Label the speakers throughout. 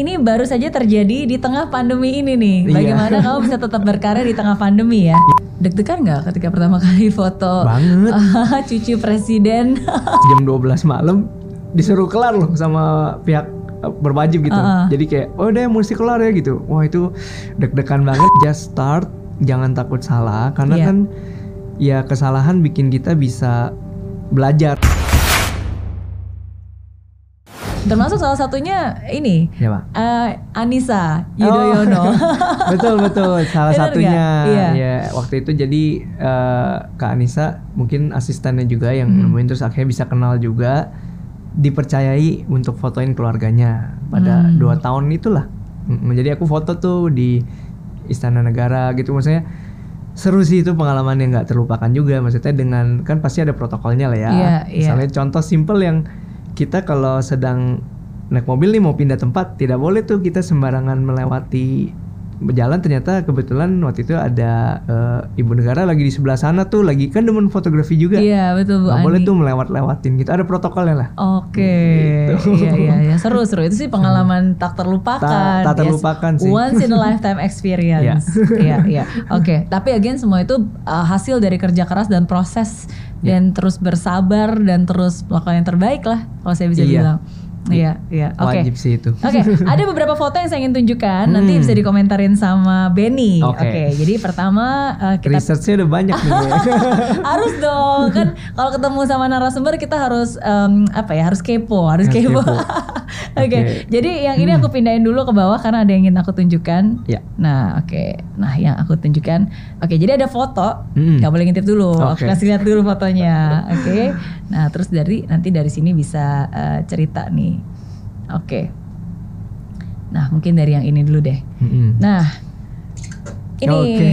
Speaker 1: Ini baru saja terjadi di tengah pandemi ini
Speaker 2: Iya.
Speaker 1: nih. Bagaimana kamu bisa tetap berkarya di tengah pandemi ya? Deg-degan nggak ketika pertama kali foto
Speaker 2: Banget.
Speaker 1: cucu presiden?
Speaker 2: jam 12 malam disuruh kelar loh sama pihak eh, berwajib gitu.
Speaker 1: Heeh.
Speaker 2: Jadi kayak oh deh mesti kelar ya gitu. Wah itu deg-degan banget. Just start, jangan takut salah karena
Speaker 1: Iya.
Speaker 2: kan ya kesalahan bikin kita bisa belajar.
Speaker 1: Termasuk salah satunya ini
Speaker 2: Ya, Pak.
Speaker 1: eh, Anissa Yudhoyono.
Speaker 2: Oh. betul betul salah
Speaker 1: Bener
Speaker 2: satunya
Speaker 1: nggak? Iya.
Speaker 2: ya waktu itu jadi eh, kak Anissa mungkin asistennya juga yang
Speaker 1: Hmm.
Speaker 2: nemuin terus akhirnya bisa kenal juga dipercayai untuk fotoin keluarganya pada
Speaker 1: Hmm.
Speaker 2: dua tahun itulah Mm, jadi aku foto tuh di istana negara gitu maksudnya seru sih itu pengalaman yang nggak terlupakan juga maksudnya dengan kan pasti ada protokolnya lah ya
Speaker 1: Iya, iya.
Speaker 2: misalnya contoh simple yang kita kalau sedang naik mobil nih mau pindah tempat tidak boleh tuh kita sembarangan melewati jalan ternyata kebetulan waktu itu ada eh, ibu negara lagi di sebelah sana tuh lagi kan demen fotografi juga
Speaker 1: Iya betul Bu
Speaker 2: nggak boleh
Speaker 1: Ani.
Speaker 2: tuh melewat-lewatin gitu ada protokolnya lah
Speaker 1: Oke,
Speaker 2: Gitu.
Speaker 1: iya iya iya seru seru itu sih pengalaman tak terlupakan.
Speaker 2: Tak- tak
Speaker 1: Yes.
Speaker 2: terlupakan sih.
Speaker 1: Once in a lifetime experience. Iya iya. Oke, tapi again semua itu uh, hasil dari kerja keras dan proses
Speaker 2: Iya.
Speaker 1: dan terus bersabar dan terus melakukan yang terbaik lah kalau saya bisa
Speaker 2: Iya.
Speaker 1: bilang. Iya iya. Oke.
Speaker 2: wajib sih itu
Speaker 1: Oke, ada beberapa foto yang saya ingin tunjukkan. Nanti
Speaker 2: Hmm.
Speaker 1: bisa dikomentarin sama Benny. Oke,
Speaker 2: Oke.
Speaker 1: jadi pertama uh, kita
Speaker 2: researchnya udah banyak nih ya.
Speaker 1: harus dong kan kalau ketemu sama narasumber kita harus em, apa ya harus kepo harus
Speaker 2: Harus
Speaker 1: kepo,
Speaker 2: kepo.
Speaker 1: oke
Speaker 2: Oke.
Speaker 1: jadi yang ini aku pindahin dulu ke bawah karena ada yang ingin aku tunjukkan
Speaker 2: Ya.
Speaker 1: nah oke nah yang aku tunjukkan oke jadi ada foto
Speaker 2: Mm-mm.
Speaker 1: nggak boleh ngintip dulu aku
Speaker 2: Hmm. Oke.
Speaker 1: kasih lihat dulu fotonya oke nah terus dari nanti dari sini bisa eh, cerita nih oke nah mungkin dari yang ini dulu deh
Speaker 2: Mm-mm.
Speaker 1: Nah, ini
Speaker 2: Oke.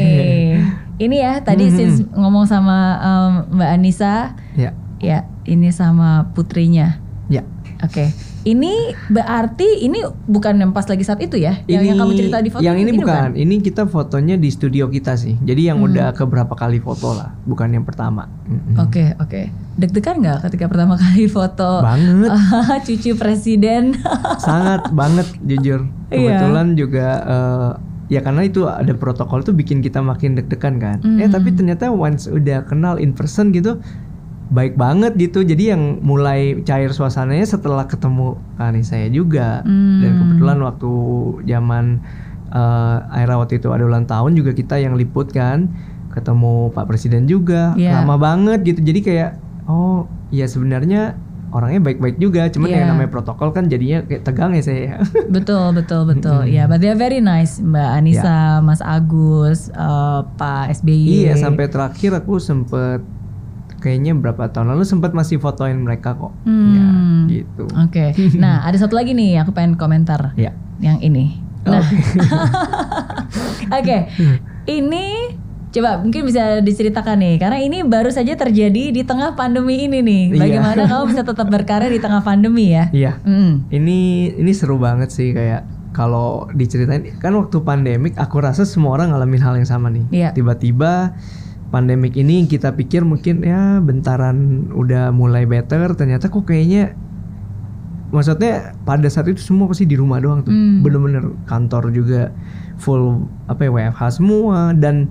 Speaker 1: ini ya tadi
Speaker 2: Mhm.
Speaker 1: since ngomong sama um, Mbak Anissa,
Speaker 2: ya
Speaker 1: ya ini sama putrinya.
Speaker 2: ya
Speaker 1: Oke, ini berarti ini bukan yang pas lagi saat itu ya? Yang, yang kamu cerita di foto?
Speaker 2: yang ini, bukan. ini kita fotonya di studio kita sih jadi
Speaker 1: Hmm.
Speaker 2: yang udah keberapa kali foto lah bukan yang pertama Mm-mm.
Speaker 1: Oke, oke. Deg-degan nggak ketika pertama kali foto
Speaker 2: banget
Speaker 1: cucu presiden?
Speaker 2: sangat banget jujur
Speaker 1: Iya.
Speaker 2: kebetulan juga eh, ya karena itu ada protokol tuh bikin kita makin deg-degan kan
Speaker 1: Hmm.
Speaker 2: eh tapi ternyata once udah kenal in person gitu baik banget gitu jadi yang mulai cair suasananya setelah ketemu Kani saya juga
Speaker 1: Hmm.
Speaker 2: dan kebetulan waktu zaman eh Aira waktu itu ada ulang tahun juga kita yang liput kan ketemu Pak Presiden juga
Speaker 1: Iya.
Speaker 2: lama banget gitu jadi kayak oh ya sebenarnya orangnya baik-baik juga cuman
Speaker 1: Iya.
Speaker 2: yang namanya protokol kan jadinya kayak tegang ya saya
Speaker 1: betul betul betul ya but they are very nice mbak Anissa Mas Agus eh, Pak SBY
Speaker 2: Ya. iya sampai terakhir aku sempet kayaknya berapa tahun lalu sempet masih fotoin mereka kok Iya,
Speaker 1: Hmm.
Speaker 2: gitu
Speaker 1: Oke, nah ada satu lagi nih aku pengen komentar
Speaker 2: ya
Speaker 1: yang ini. Nah, oke, ini coba mungkin bisa diceritakan nih karena ini baru saja terjadi di tengah pandemi ini nih.
Speaker 2: Iya.
Speaker 1: Bagaimana kamu bisa tetap berkarya di tengah pandemi ya?
Speaker 2: iya
Speaker 1: Mm.
Speaker 2: ini ini seru banget sih kayak kalau diceritain kan waktu pandemik aku rasa semua orang ngalamin hal yang sama nih
Speaker 1: Iya.
Speaker 2: tiba-tiba pandemik ini kita pikir mungkin ya bentaran udah mulai better ternyata kok kayaknya maksudnya pada saat itu semua pasti di rumah doang tuh
Speaker 1: Hmm.
Speaker 2: bener-bener kantor juga full apa ya WFH semua dan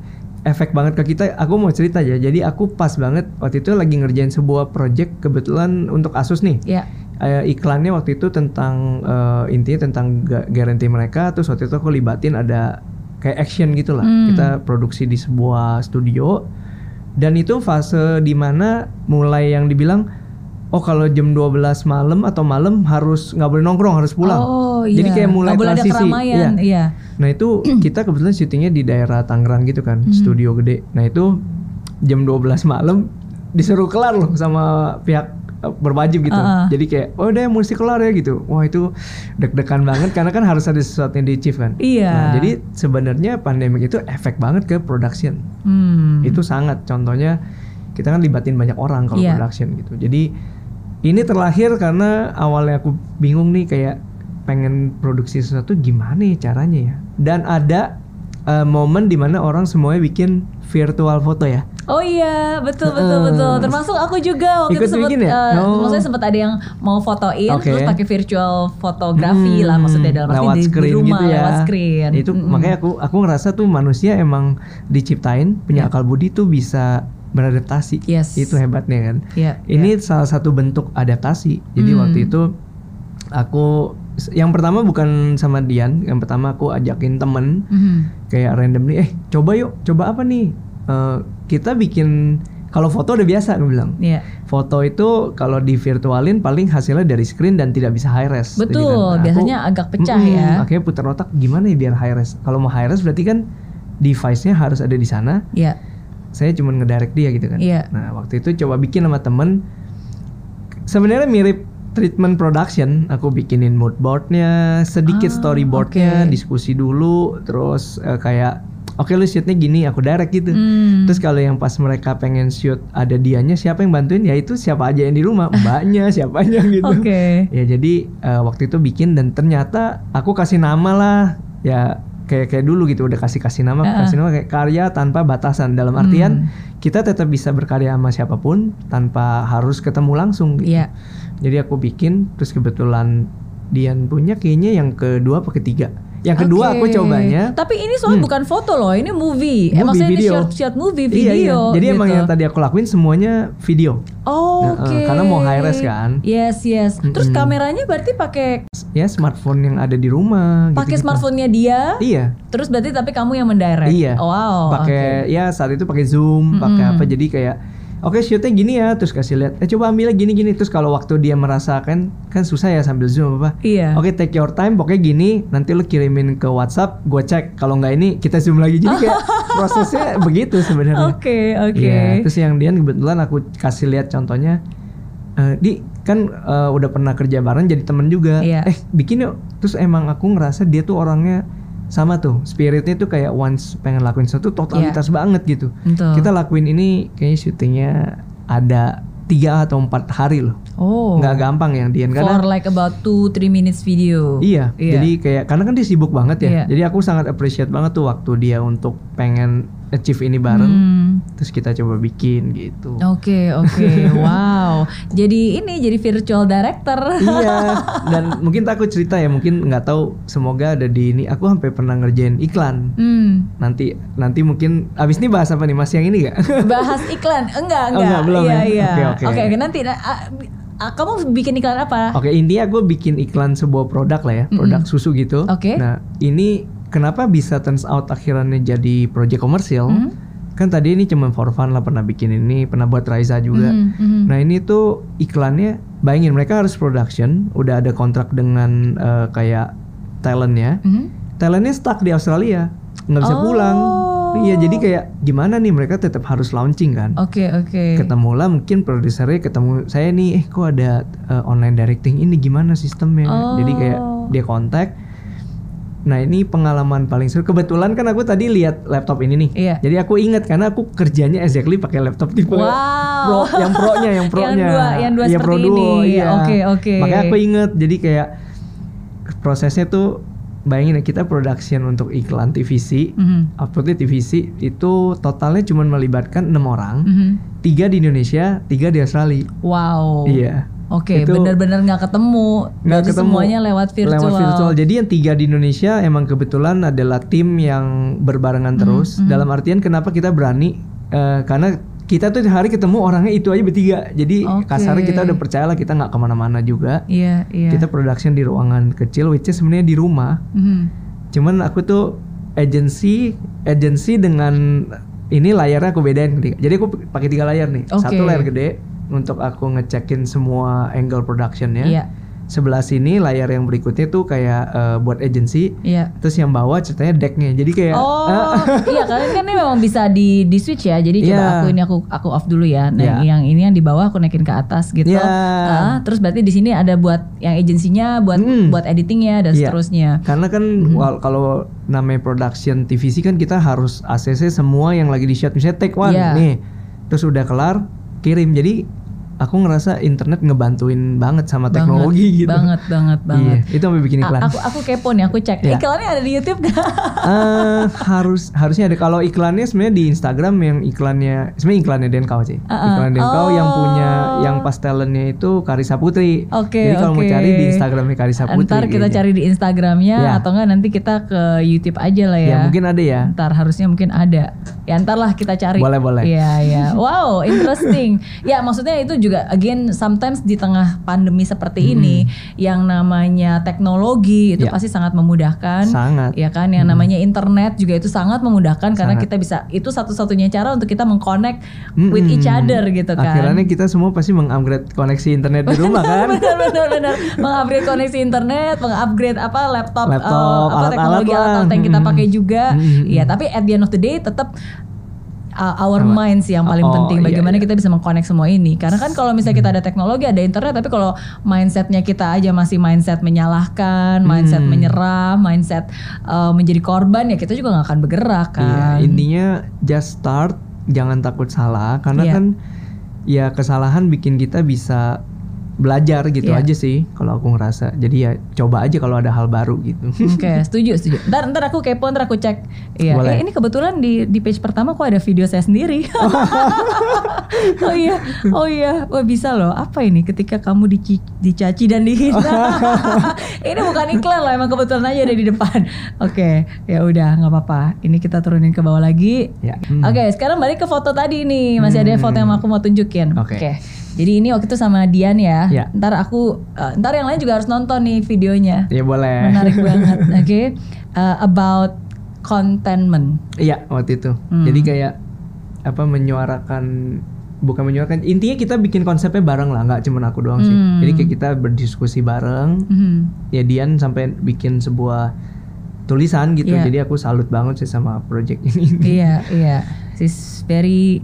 Speaker 2: efek banget ke kita aku mau cerita ya jadi aku pas banget waktu itu lagi ngerjain sebuah project kebetulan untuk Asus nih
Speaker 1: Ya,
Speaker 2: Eh, iklannya waktu itu tentang eh, intinya tentang ga- guarantee mereka terus waktu itu aku libatin ada kayak action gitu lah
Speaker 1: Hmm.
Speaker 2: kita produksi di sebuah studio dan itu fase dimana mulai yang dibilang oh kalau jam 12 malam atau malam harus nggak boleh nongkrong harus pulang
Speaker 1: Oh iya.
Speaker 2: jadi kayak mulai
Speaker 1: Nggak boleh
Speaker 2: transisi
Speaker 1: ada keramaian,
Speaker 2: Iya.
Speaker 1: iya.
Speaker 2: Nah itu kita kebetulan syutingnya di daerah Tangerang gitu kan, studio gede. Nah itu jam 12 malam disuruh kelar loh sama pihak eh, berwajib gitu.
Speaker 1: Ah, ah.
Speaker 2: Jadi kayak oh deh mesti kelar ya gitu. Wah itu deg-degan banget karena kan harus ada sesuatu yang di achieve kan.
Speaker 1: Iya.
Speaker 2: Nah, jadi sebenarnya pandemi itu efek banget ke production.
Speaker 1: Hmm.
Speaker 2: Itu sangat contohnya kita kan libatin banyak orang kalau
Speaker 1: Iya.
Speaker 2: production gitu. Jadi ini terlahir karena awalnya aku bingung nih kayak pengen produksi sesuatu gimana ya caranya ya. Dan ada eh, momen dimana orang semuanya bikin virtual foto ya.
Speaker 1: Oh iya, betul betul
Speaker 2: Heeh.
Speaker 1: betul. Termasuk aku juga waktu
Speaker 2: Ikut
Speaker 1: itu sempat
Speaker 2: bikin ya?
Speaker 1: eh,
Speaker 2: Oh.
Speaker 1: maksudnya sempat ada yang mau fotoin
Speaker 2: Oke.
Speaker 1: terus pakai virtual fotografi lah
Speaker 2: Hmm,
Speaker 1: maksudnya dalam arti
Speaker 2: lewat
Speaker 1: di, di
Speaker 2: screen
Speaker 1: rumah
Speaker 2: gitu ya.
Speaker 1: lewat screen. Hmm.
Speaker 2: Itu
Speaker 1: Mm-mm.
Speaker 2: makanya aku aku ngerasa tuh manusia emang diciptain punya akal budi tuh bisa beradaptasi.
Speaker 1: Iya. Yes.
Speaker 2: Itu hebatnya kan.
Speaker 1: Iya,
Speaker 2: Ini salah satu bentuk adaptasi. Jadi
Speaker 1: Hmm.
Speaker 2: waktu itu aku yang pertama bukan sama Dian, yang pertama aku ajakin temen
Speaker 1: Mhm.
Speaker 2: kayak randomly eh coba yuk, coba apa nih? Eh, kita bikin kalau foto udah biasa aku bilang.
Speaker 1: Iya.
Speaker 2: Foto itu kalau di virtualin paling hasilnya dari screen dan tidak bisa high res. Jadi kan,
Speaker 1: Betul,
Speaker 2: nah, aku-
Speaker 1: biasanya agak pecah
Speaker 2: Mm-mm,
Speaker 1: ya.
Speaker 2: Akhirnya putar otak gimana ya biar high res. Kalau mau high res berarti kan device-nya harus ada di sana.
Speaker 1: Iya.
Speaker 2: Saya cuma ngedirect dia gitu kan.
Speaker 1: Iya.
Speaker 2: Nah, waktu itu coba bikin sama temen Sebenarnya mirip treatment production, aku bikinin mood boardnya, sedikit
Speaker 1: Ah,
Speaker 2: storyboardnya,
Speaker 1: oke.
Speaker 2: diskusi dulu, terus eh, kayak oke lu shootnya gini, aku direct gitu.
Speaker 1: Hmm.
Speaker 2: Terus kalau yang pas mereka pengen shoot ada dianya, siapa yang bantuin? Ya itu siapa aja yang di rumah, mbaknya, siapanya gitu.
Speaker 1: Oke.
Speaker 2: Ya jadi eh, waktu itu bikin dan ternyata aku kasih nama lah ya kayak kayak dulu gitu udah kasih kasih nama
Speaker 1: Heeh. Hmm.
Speaker 2: kasih nama kayak karya tanpa batasan dalam artian kita tetap bisa berkarya sama siapapun tanpa harus ketemu langsung gitu.
Speaker 1: Iya.
Speaker 2: Jadi aku bikin terus kebetulan Dian punya kayaknya yang kedua apa ketiga. Yang kedua aku
Speaker 1: Oke.
Speaker 2: cobanya
Speaker 1: Tapi ini soalnya
Speaker 2: Hmm.
Speaker 1: bukan foto loh, ini movie. Eh,
Speaker 2: Movie,
Speaker 1: maksudnya ini
Speaker 2: video.
Speaker 1: short short movie video.
Speaker 2: Iya, iya. Jadi
Speaker 1: gitu.
Speaker 2: emang yang tadi aku lakuin semuanya video.
Speaker 1: Oh,
Speaker 2: Nah,
Speaker 1: Oke.
Speaker 2: eh, karena mau high res kan.
Speaker 1: Yes, yes. Terus
Speaker 2: Mm-mm.
Speaker 1: kameranya berarti pakai
Speaker 2: Ya smartphone yang ada di rumah
Speaker 1: pakai
Speaker 2: gitu-gitu.
Speaker 1: smartphone-nya dia.
Speaker 2: gitu. Iya.
Speaker 1: Terus berarti tapi kamu yang mendirect.
Speaker 2: Iya.
Speaker 1: Wow.
Speaker 2: pakai ya saat itu pakai zoom pakai apa jadi kayak oke shootnya gini ya terus kasih lihat eh coba ambilnya gini gini terus kalau waktu dia merasakan kan susah ya sambil zoom
Speaker 1: oke.
Speaker 2: apa
Speaker 1: Iya.
Speaker 2: oke take your time pokoknya gini nanti lu kirimin ke WhatsApp gue cek kalau nggak ini kita zoom lagi jadi kayak prosesnya begitu sebenarnya
Speaker 1: Oke, oke.
Speaker 2: Iya, terus yang Dian kebetulan aku kasih lihat contohnya eh, di kan eh, udah pernah kerja bareng jadi temen juga
Speaker 1: Iya.
Speaker 2: eh bikin yuk terus emang aku ngerasa dia tuh orangnya sama tuh spiritnya tuh kayak once pengen lakuin sesuatu totalitas banget gitu
Speaker 1: Iya. Betul.
Speaker 2: kita lakuin ini kayaknya syutingnya ada tiga atau empat hari loh
Speaker 1: Oh.
Speaker 2: nggak gampang yang Dian
Speaker 1: For
Speaker 2: karena
Speaker 1: like about 2 3 minutes video.
Speaker 2: Iya,
Speaker 1: Iya.
Speaker 2: jadi kayak karena kan dia sibuk banget ya.
Speaker 1: Iya.
Speaker 2: Jadi aku sangat appreciate banget tuh waktu dia untuk pengen achieve ini bareng.
Speaker 1: Hmm. Oh,
Speaker 2: Terus kita coba bikin gitu.
Speaker 1: Oke, oke. wow. Jadi ini jadi virtual director.
Speaker 2: iya dan mungkin tak aku cerita ya mungkin nggak tahu semoga ada di ini aku sampai pernah ngerjain iklan
Speaker 1: Hmm.
Speaker 2: nanti nanti mungkin abis ini bahas apa nih mas yang ini gak
Speaker 1: Bahas iklan. Enggak, enggak.
Speaker 2: Oh, enggak, belum
Speaker 1: iya, iya.
Speaker 2: ya? Oke, Oh, iya oke.
Speaker 1: oke. nanti nah, ah, ah, kamu bikin iklan apa?
Speaker 2: Oke intinya gue bikin iklan sebuah produk lah ya produk susu gitu
Speaker 1: Oke.
Speaker 2: nah ini kenapa bisa turns out akhirnya jadi project komersil
Speaker 1: Hmm.
Speaker 2: kan tadi ini cuma for fun lah pernah bikin ini pernah buat Raiza juga
Speaker 1: Mhm, mhm.
Speaker 2: Nah ini tuh iklannya, bayangin mereka harus production, udah ada kontrak dengan eh, kayak ya. talentnya,
Speaker 1: Mhm.
Speaker 2: talentnya stuck di Australia nggak bisa
Speaker 1: Oh.
Speaker 2: pulang iya jadi kayak gimana nih mereka tetap harus launching kan
Speaker 1: Oke, oke.
Speaker 2: ketemulah mungkin produsernya ketemu saya nih eh kok ada eh, online directing ini gimana sistemnya
Speaker 1: Oh.
Speaker 2: jadi kayak dia kontak nah ini pengalaman paling seru kebetulan kan aku tadi lihat laptop ini nih
Speaker 1: Iya.
Speaker 2: jadi aku ingat karena aku kerjanya exactly pakai laptop tipe pro
Speaker 1: Wow.
Speaker 2: yang pro-nya yang
Speaker 1: Yang
Speaker 2: pro-nya
Speaker 1: dua- yang dua
Speaker 2: Iya,
Speaker 1: seperti
Speaker 2: pro duo,
Speaker 1: ini.
Speaker 2: iya.
Speaker 1: Oke, oke.
Speaker 2: makanya aku inget jadi kayak prosesnya tuh bayangin ya kita production untuk iklan TVC
Speaker 1: Mhm,
Speaker 2: uploadnya TVC itu totalnya cuma melibatkan enam orang
Speaker 1: mhm.
Speaker 2: tiga di Indonesia tiga di Australia
Speaker 1: Wow.
Speaker 2: iya
Speaker 1: Oke,
Speaker 2: Itu-
Speaker 1: benar-benar nggak ketemu.
Speaker 2: Nggak
Speaker 1: Jadi
Speaker 2: ketemu.
Speaker 1: Semuanya lewat virtual.
Speaker 2: lewat virtual jadi yang tiga di Indonesia emang kebetulan adalah tim yang
Speaker 1: Mm-hmm,
Speaker 2: berbarengan terus dalam artian kenapa kita berani eh, karena kita tuh hari ketemu orangnya itu aja bertiga jadi
Speaker 1: Oke.
Speaker 2: kasarnya kita udah percayalah kita nggak kemana-mana juga
Speaker 1: Iya, iya.
Speaker 2: kita production di ruangan kecil which is sebenarnya di rumah
Speaker 1: Mhm.
Speaker 2: cuman aku tuh agency agency dengan ini layarnya aku bedain tiga. jadi aku pakai tiga layar nih
Speaker 1: Oke.
Speaker 2: satu layar gede untuk aku ngecekin semua angle productionnya
Speaker 1: Iya,
Speaker 2: sebelah sini layar yang berikutnya tuh kayak eh, buat agency
Speaker 1: iya.
Speaker 2: terus yang bawah ceritanya decknya jadi kayak
Speaker 1: Oh,
Speaker 2: ah,
Speaker 1: iya kalian kan ini memang bisa di di switch ya. Jadi coba
Speaker 2: Iya.
Speaker 1: aku ini aku aku off dulu ya. Nah,
Speaker 2: Iya.
Speaker 1: yang ini yang di bawah aku naikin ke atas gitu.
Speaker 2: Iya.
Speaker 1: Ah, terus berarti di sini ada buat yang agensinya, buat
Speaker 2: Mm.
Speaker 1: buat editingnya dan
Speaker 2: Iya.
Speaker 1: seterusnya.
Speaker 2: karena kan
Speaker 1: Mhm.
Speaker 2: wal- kalau namanya production TVC kan kita harus ACC semua yang lagi di shot misalnya take one
Speaker 1: Iya.
Speaker 2: nih terus udah kelar kirim jadi aku ngerasa internet ngebantuin banget sama
Speaker 1: Banget,
Speaker 2: teknologi gitu.
Speaker 1: banget banget banget.
Speaker 2: Iya, itu sampai bikin
Speaker 1: A-
Speaker 2: iklan.
Speaker 1: aku aku kepo nih, aku cek. Eh,
Speaker 2: Iya.
Speaker 1: Iklannya ada di YouTube gak?
Speaker 2: Eh, harus harusnya ada kalau iklannya sebenarnya di Instagram yang iklannya sebenarnya iklannya Denkau sih.
Speaker 1: Ah,
Speaker 2: Iklan Denkau yang punya
Speaker 1: oh.
Speaker 2: yang pas talentnya itu Karisa Putri.
Speaker 1: Oke,
Speaker 2: Jadi kalau mau
Speaker 1: oke.
Speaker 2: cari di Instagramnya Karisa Putri. gitu.
Speaker 1: Ntar kita
Speaker 2: kayaknya.
Speaker 1: cari di Instagramnya
Speaker 2: Iya.
Speaker 1: atau enggak nanti kita ke YouTube aja lah ya.
Speaker 2: Ya, mungkin ada ya.
Speaker 1: Ntar harusnya mungkin ada. Ya ntar lah kita cari.
Speaker 2: Boleh, boleh.
Speaker 1: Iya iya. Wow interesting. ya maksudnya itu juga again sometimes di tengah pandemi seperti ini yang namanya teknologi itu
Speaker 2: Hmm. Ya.
Speaker 1: pasti sangat memudahkan.
Speaker 2: Sangat. Hmm.
Speaker 1: Ya kan yang namanya internet juga itu sangat memudahkan karena
Speaker 2: Sangat.
Speaker 1: kita bisa itu satu-satunya cara untuk kita mengconnect
Speaker 2: Mm-mm.
Speaker 1: with each other gitu kan.
Speaker 2: Akhirnya kita semua pasti mengupgrade koneksi internet di rumah kan.
Speaker 1: benar benar benar mengupgrade koneksi internet mengupgrade apa laptop, eh,
Speaker 2: Laptop,
Speaker 1: apa
Speaker 2: alat-alat
Speaker 1: teknologi
Speaker 2: lah.
Speaker 1: alat yang kita
Speaker 2: Mm-mm.
Speaker 1: pakai juga
Speaker 2: Mm-mm.
Speaker 1: ya tapi at the end of the day tetap uh, our
Speaker 2: Sama.
Speaker 1: minds yang paling
Speaker 2: Oh,
Speaker 1: penting
Speaker 2: iya,
Speaker 1: bagaimana
Speaker 2: iya.
Speaker 1: kita bisa mengkonek semua ini karena kan kalau misalnya kita ada teknologi ada internet tapi kalau mindsetnya kita aja masih mindset menyalahkan mindset
Speaker 2: Hmm.
Speaker 1: menyerah mindset uh, menjadi korban ya kita juga nggak akan bergerak
Speaker 2: Iya,
Speaker 1: kan
Speaker 2: intinya just start, jangan takut salah karena
Speaker 1: Iya.
Speaker 2: kan ya kesalahan bikin kita bisa belajar gitu
Speaker 1: Iya.
Speaker 2: aja sih kalau aku ngerasa. Jadi ya coba aja kalau ada hal baru gitu.
Speaker 1: Oke, setuju, setuju. Ntar, ntar aku kepo, ntar aku cek. Iya.
Speaker 2: Boleh.
Speaker 1: Eh, ini kebetulan di di page pertama kok ada video saya sendiri. oh iya, oh iya, wah bisa loh. Apa ini? Ketika kamu dici, dicaci dan dihina. ini bukan iklan loh, emang kebetulan aja ada di depan. Oke, ya udah, nggak apa-apa. Ini kita turunin ke bawah lagi.
Speaker 2: ya. Hmm.
Speaker 1: Oke, sekarang balik ke foto tadi nih. Masih ada foto yang aku mau tunjukin.
Speaker 2: Oke.
Speaker 1: Jadi ini waktu itu sama Dian ya.
Speaker 2: Ya.
Speaker 1: Ntar aku, eh, ntar yang lain juga harus nonton nih videonya
Speaker 2: Ya boleh.
Speaker 1: menarik banget oke Uh, about contentment
Speaker 2: Iya, waktu itu.
Speaker 1: Hmm.
Speaker 2: Jadi kayak apa menyuarakan bukan menyuarakan intinya kita bikin konsepnya bareng lah nggak cuma aku doang sih
Speaker 1: Hmm.
Speaker 2: jadi kayak kita berdiskusi bareng
Speaker 1: Mhm.
Speaker 2: ya Dian sampai bikin sebuah tulisan gitu
Speaker 1: Iya.
Speaker 2: jadi aku salut banget sih sama project ini
Speaker 1: iya iya she's very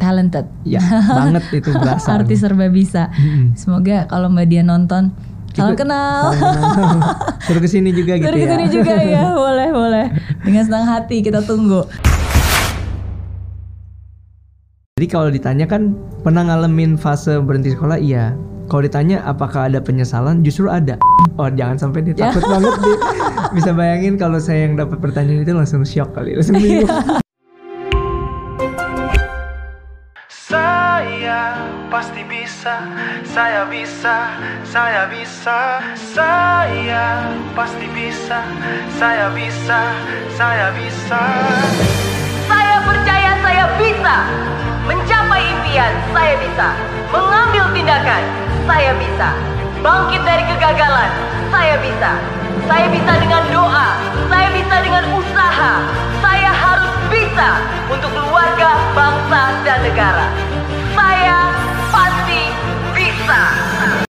Speaker 1: talented
Speaker 2: ya banget itu berasa
Speaker 1: artis serba bisa
Speaker 2: Mm-mm.
Speaker 1: semoga kalau mbak Dian nonton salam
Speaker 2: Kita-
Speaker 1: kenal
Speaker 2: Salam. suruh kesini juga gitu
Speaker 1: Terus
Speaker 2: ya
Speaker 1: kesini juga ya boleh boleh dengan senang hati kita tunggu
Speaker 2: jadi kalau ditanya kan pernah ngalamin fase berhenti sekolah iya kalau ditanya apakah ada penyesalan justru ada oh jangan sampai dia takut banget dia. bisa bayangin kalau saya yang dapat pertanyaan itu langsung shock kali langsung bingung
Speaker 3: Saya pasti bisa, saya bisa, saya bisa, saya pasti bisa, saya bisa, saya bisa.
Speaker 4: Saya percaya saya bisa mencapai impian. Saya bisa mengambil tindakan. Saya bisa bangkit dari kegagalan. Saya bisa. Saya bisa dengan doa. Saya bisa dengan usaha. Saya harus bisa untuk keluarga, bangsa, dan negara. Saya